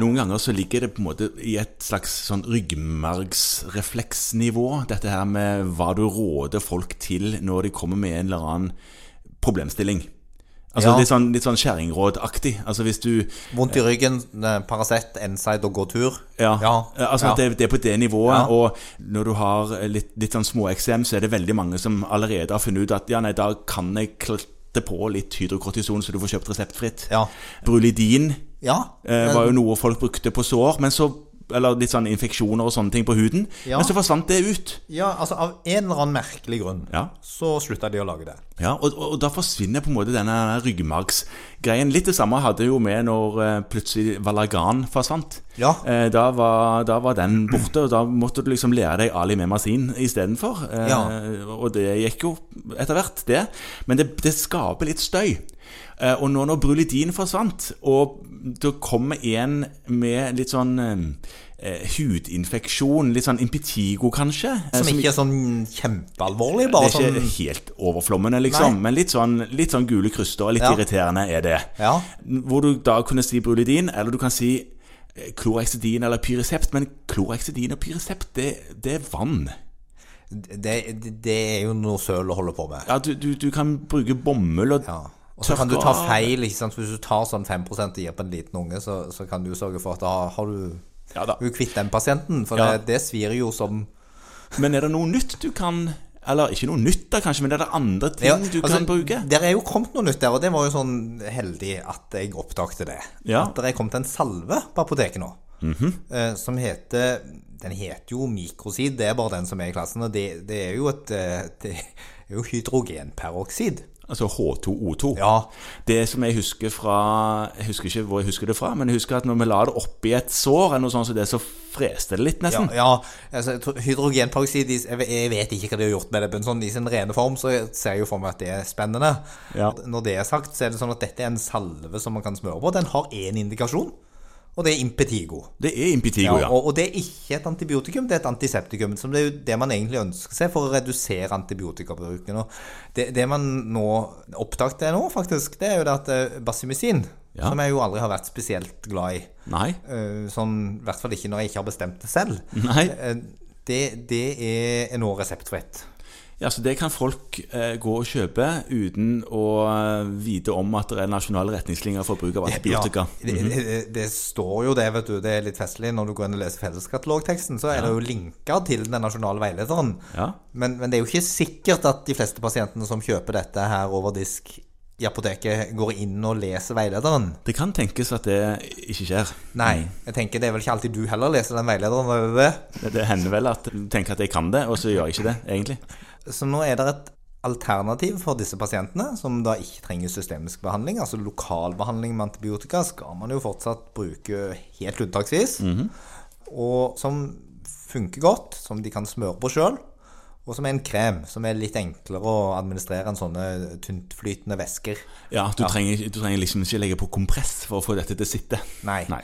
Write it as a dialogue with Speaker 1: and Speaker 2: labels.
Speaker 1: Noen ganger så ligger det på en måte i et slags sånn ryggmargsrefleksnivå, dette her med hva du råder folk til når de kommer med en eller annen problemstilling. Altså
Speaker 2: Ja.
Speaker 1: Litt sånn, litt sånn kjerringrådaktig. Altså hvis du
Speaker 2: Vondt i ryggen, eh, Paracet, N-side og gå tur.
Speaker 1: Ja, altså
Speaker 2: ja.
Speaker 1: at Det, det er på det nivået.
Speaker 2: Ja.
Speaker 1: Og når du har litt, litt sånn småeksem, så er det veldig mange som allerede har funnet ut at ja, nei, da kan jeg klette på litt hydrokortison, så du får kjøpt reseptfritt.
Speaker 2: Ja.
Speaker 1: Brulidin
Speaker 2: ja.
Speaker 1: eh, var jo noe folk brukte på sår, men så eller litt sånn infeksjoner og sånne ting på huden.
Speaker 2: Ja.
Speaker 1: Men så forsvant det ut.
Speaker 2: ja, altså av en eller annen merkelig grunn
Speaker 1: Ja. Eh,
Speaker 2: så slutta de å lage det.
Speaker 1: Ja, og, og, og da forsvinner på en måte denne ryggmargsgreien. Litt det samme hadde jeg jo med når eh, plutselig Valagan forsvant.
Speaker 2: Ja.
Speaker 1: Eh, da, var, da var den borte, og da måtte du liksom lære deg Ali Memasin istedenfor. Eh,
Speaker 2: Ja.
Speaker 1: Og det gikk jo etter hvert, det. Men det, det skaper litt støy. Eh, og nå når Brulidin forsvant, og det kommer en med litt sånn eh, hudinfeksjon, litt sånn impetigo kanskje eh,
Speaker 2: Som ikke er sånn kjempealvorlig, bare
Speaker 1: det er
Speaker 2: sånn
Speaker 1: ikke helt overflommende, liksom,
Speaker 2: Nei.
Speaker 1: men litt sånn, litt sånn gule kryster. Litt
Speaker 2: Ja.
Speaker 1: irriterende er det.
Speaker 2: Ja.
Speaker 1: Hvor du da kunne si brulidin, eller du kan si eh, klorexidin eller pyresept, men klorexidin og pyresept, det, det er vann.
Speaker 2: det, det er jo noe søl å holde på med.
Speaker 1: Ja, du, du, du kan bruke bomull og
Speaker 2: Ja. Og så kan du ta feil. ikke sant? Hvis du tar sånn 5 og gir på en liten unge, så, så kan du sørge for at da har du,
Speaker 1: Ja da.
Speaker 2: du er kvitt den pasienten. For
Speaker 1: Ja.
Speaker 2: det, det svir jo som
Speaker 1: Men er det noe nytt du kan Eller ikke noe nytt, da kanskje, men er det andre ting
Speaker 2: Ja,
Speaker 1: du
Speaker 2: altså,
Speaker 1: kan bruke?
Speaker 2: Der er jo kommet noe nytt der, og det var jo sånn heldig at jeg oppdagte det.
Speaker 1: Ja. Mhm.
Speaker 2: At det er kommet en salve på apoteket nå, eh, som heter Den heter jo mikrosid, det er bare den som er i klassen. Og det, det er jo et eh, Det er jo hydrogenperoksid.
Speaker 1: Altså H2O2.
Speaker 2: Ja.
Speaker 1: Det som jeg husker fra Jeg husker ikke hvor jeg husker det fra, men jeg husker at når vi la det oppi et sår, eller noe sånt som det, så freste det litt,
Speaker 2: Ja,
Speaker 1: nesten.
Speaker 2: ja altså, jeg tror- hydrogenperoksid i- Jeg jeg vet ikke hva de har gjort med det, men sånn, i sin rene form så ser jeg jo for meg at det er spennende.
Speaker 1: Ja.
Speaker 2: Når det er sagt, så er det sånn at dette er en salve som man kan smøre på. Den har én indikasjon, og det er impetigo.
Speaker 1: Det er impetigo,
Speaker 2: Ja,
Speaker 1: ja.
Speaker 2: og, og det er ikke et antibiotikum, det er et antiseptikum. Som det er jo det man egentlig ønsker seg for å redusere antibiotikabruken. Og det, det man nå oppdagte nå, faktisk, det er jo det at eh, basimisin,
Speaker 1: Ja.
Speaker 2: som jeg jo aldri har vært spesielt glad i
Speaker 1: Nei.
Speaker 2: eh, Sånn, I hvert fall ikke når jeg ikke har bestemt det selv.
Speaker 1: Nei.
Speaker 2: eh, Det, det er er nå reseptfritt.
Speaker 1: Ja, så det kan folk eh, gå og kjøpe uten å eh, vite om at det er nasjonale retningslinjer for bruk av antibiotika. Mhm.
Speaker 2: Ja, det, det, det står jo det, vet du. Det er litt festlig. Når du går inn og leser felleskatalogteksten, så er det jo linker til den nasjonale veilederen.
Speaker 1: Ja.
Speaker 2: Men, men det er jo ikke sikkert at de fleste pasientene som kjøper dette her over disk i apoteket, går inn og leser veilederen.
Speaker 1: Det kan tenkes at det ikke skjer.
Speaker 2: Nei. Jeg tenker Det er vel ikke alltid du heller leser den veilederen. www.
Speaker 1: Det- Det hender vel at du tenker at jeg kan det, og så gjør jeg ikke det, egentlig.
Speaker 2: Så nå er det et alternativ for disse pasientene, som da ikke trenger systemisk behandling. Altså lokalbehandling med antibiotika skal man jo fortsatt bruke helt unntaksvis. Og som funker godt, som de kan smøre på sjøl. Og som er en krem som er litt enklere å administrere enn sånne tyntflytende væsker.
Speaker 1: Ja, du, Trenger, du trenger liksom ikke legge på kompress for å få dette til å sitte.
Speaker 2: Nei.
Speaker 1: Nei.